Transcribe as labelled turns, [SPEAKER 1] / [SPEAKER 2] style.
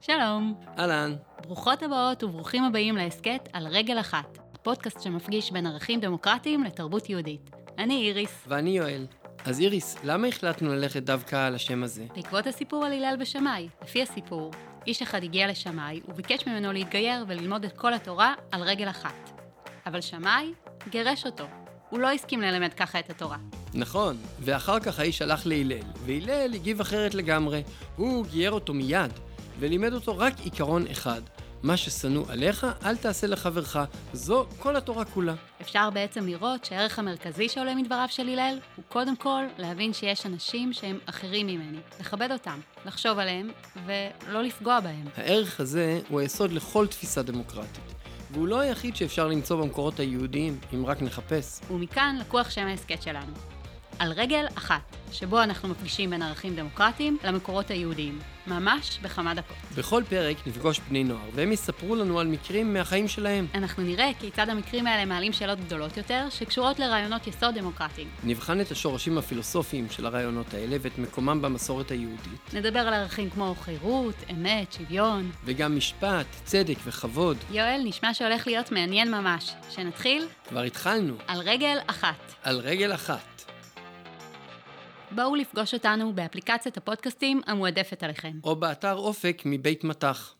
[SPEAKER 1] שלום.
[SPEAKER 2] אהלן.
[SPEAKER 1] ברוכות הבאות וברוכים הבאים להסכת על רגל אחת, הפודקאסט שמפגיש בין ערכים דמוקרטיים לתרבות יהודית. אני איריס.
[SPEAKER 2] ואני יואל. אז איריס, למה החלטנו ללכת דווקא על השם הזה?
[SPEAKER 1] בעקבות הסיפור על הלל ושמאי, לפי הסיפור, איש אחד הגיע לשמאי וביקש ממנו להתגייר וללמוד את כל התורה על רגל אחת. אבל שמאי גירש אותו. הוא לא הסכים ללמד ככה את התורה.
[SPEAKER 2] נכון, ואחר כך האיש הלך להלל, והלל הגיב אחרת לגמרי. הוא גייר אותו מיד, ולימד אותו רק עיקרון אחד. מה ששנוא עליך, אל תעשה לחברך. זו כל התורה כולה.
[SPEAKER 1] אפשר בעצם לראות שהערך המרכזי שעולה מדבריו של הלל הוא קודם כל להבין שיש אנשים שהם אחרים ממני, לכבד אותם, לחשוב עליהם ולא לפגוע בהם.
[SPEAKER 2] הערך הזה הוא היסוד לכל תפיסה דמוקרטית, והוא לא היחיד שאפשר למצוא במקורות היהודיים, אם רק נחפש.
[SPEAKER 1] ומכאן לקוח שם ההסכת שלנו. על רגל אחת, שבו אנחנו מפגישים בין ערכים דמוקרטיים למקורות היהודיים, ממש בכמה דקות.
[SPEAKER 2] בכל פרק נפגוש בני נוער, והם יספרו לנו על מקרים מהחיים שלהם.
[SPEAKER 1] אנחנו נראה כיצד המקרים האלה מעלים שאלות גדולות יותר, שקשורות לרעיונות יסוד דמוקרטיים.
[SPEAKER 2] נבחן את השורשים הפילוסופיים של הרעיונות האלה ואת מקומם במסורת היהודית,
[SPEAKER 1] נדבר על ערכים כמו חירות, אמת, שוויון.
[SPEAKER 2] וגם משפט, צדק וכבוד.
[SPEAKER 1] יואל, נשמע שהולך להיות מעניין ממש. שנתחיל
[SPEAKER 2] כבר התחלנו,
[SPEAKER 1] על רגל אחת.
[SPEAKER 2] על רגל אחת.
[SPEAKER 1] בואו לפגוש אותנו באפליקציית הפודקאסטים המועדפת עליכם.
[SPEAKER 2] או באתר אופק מבית מטח.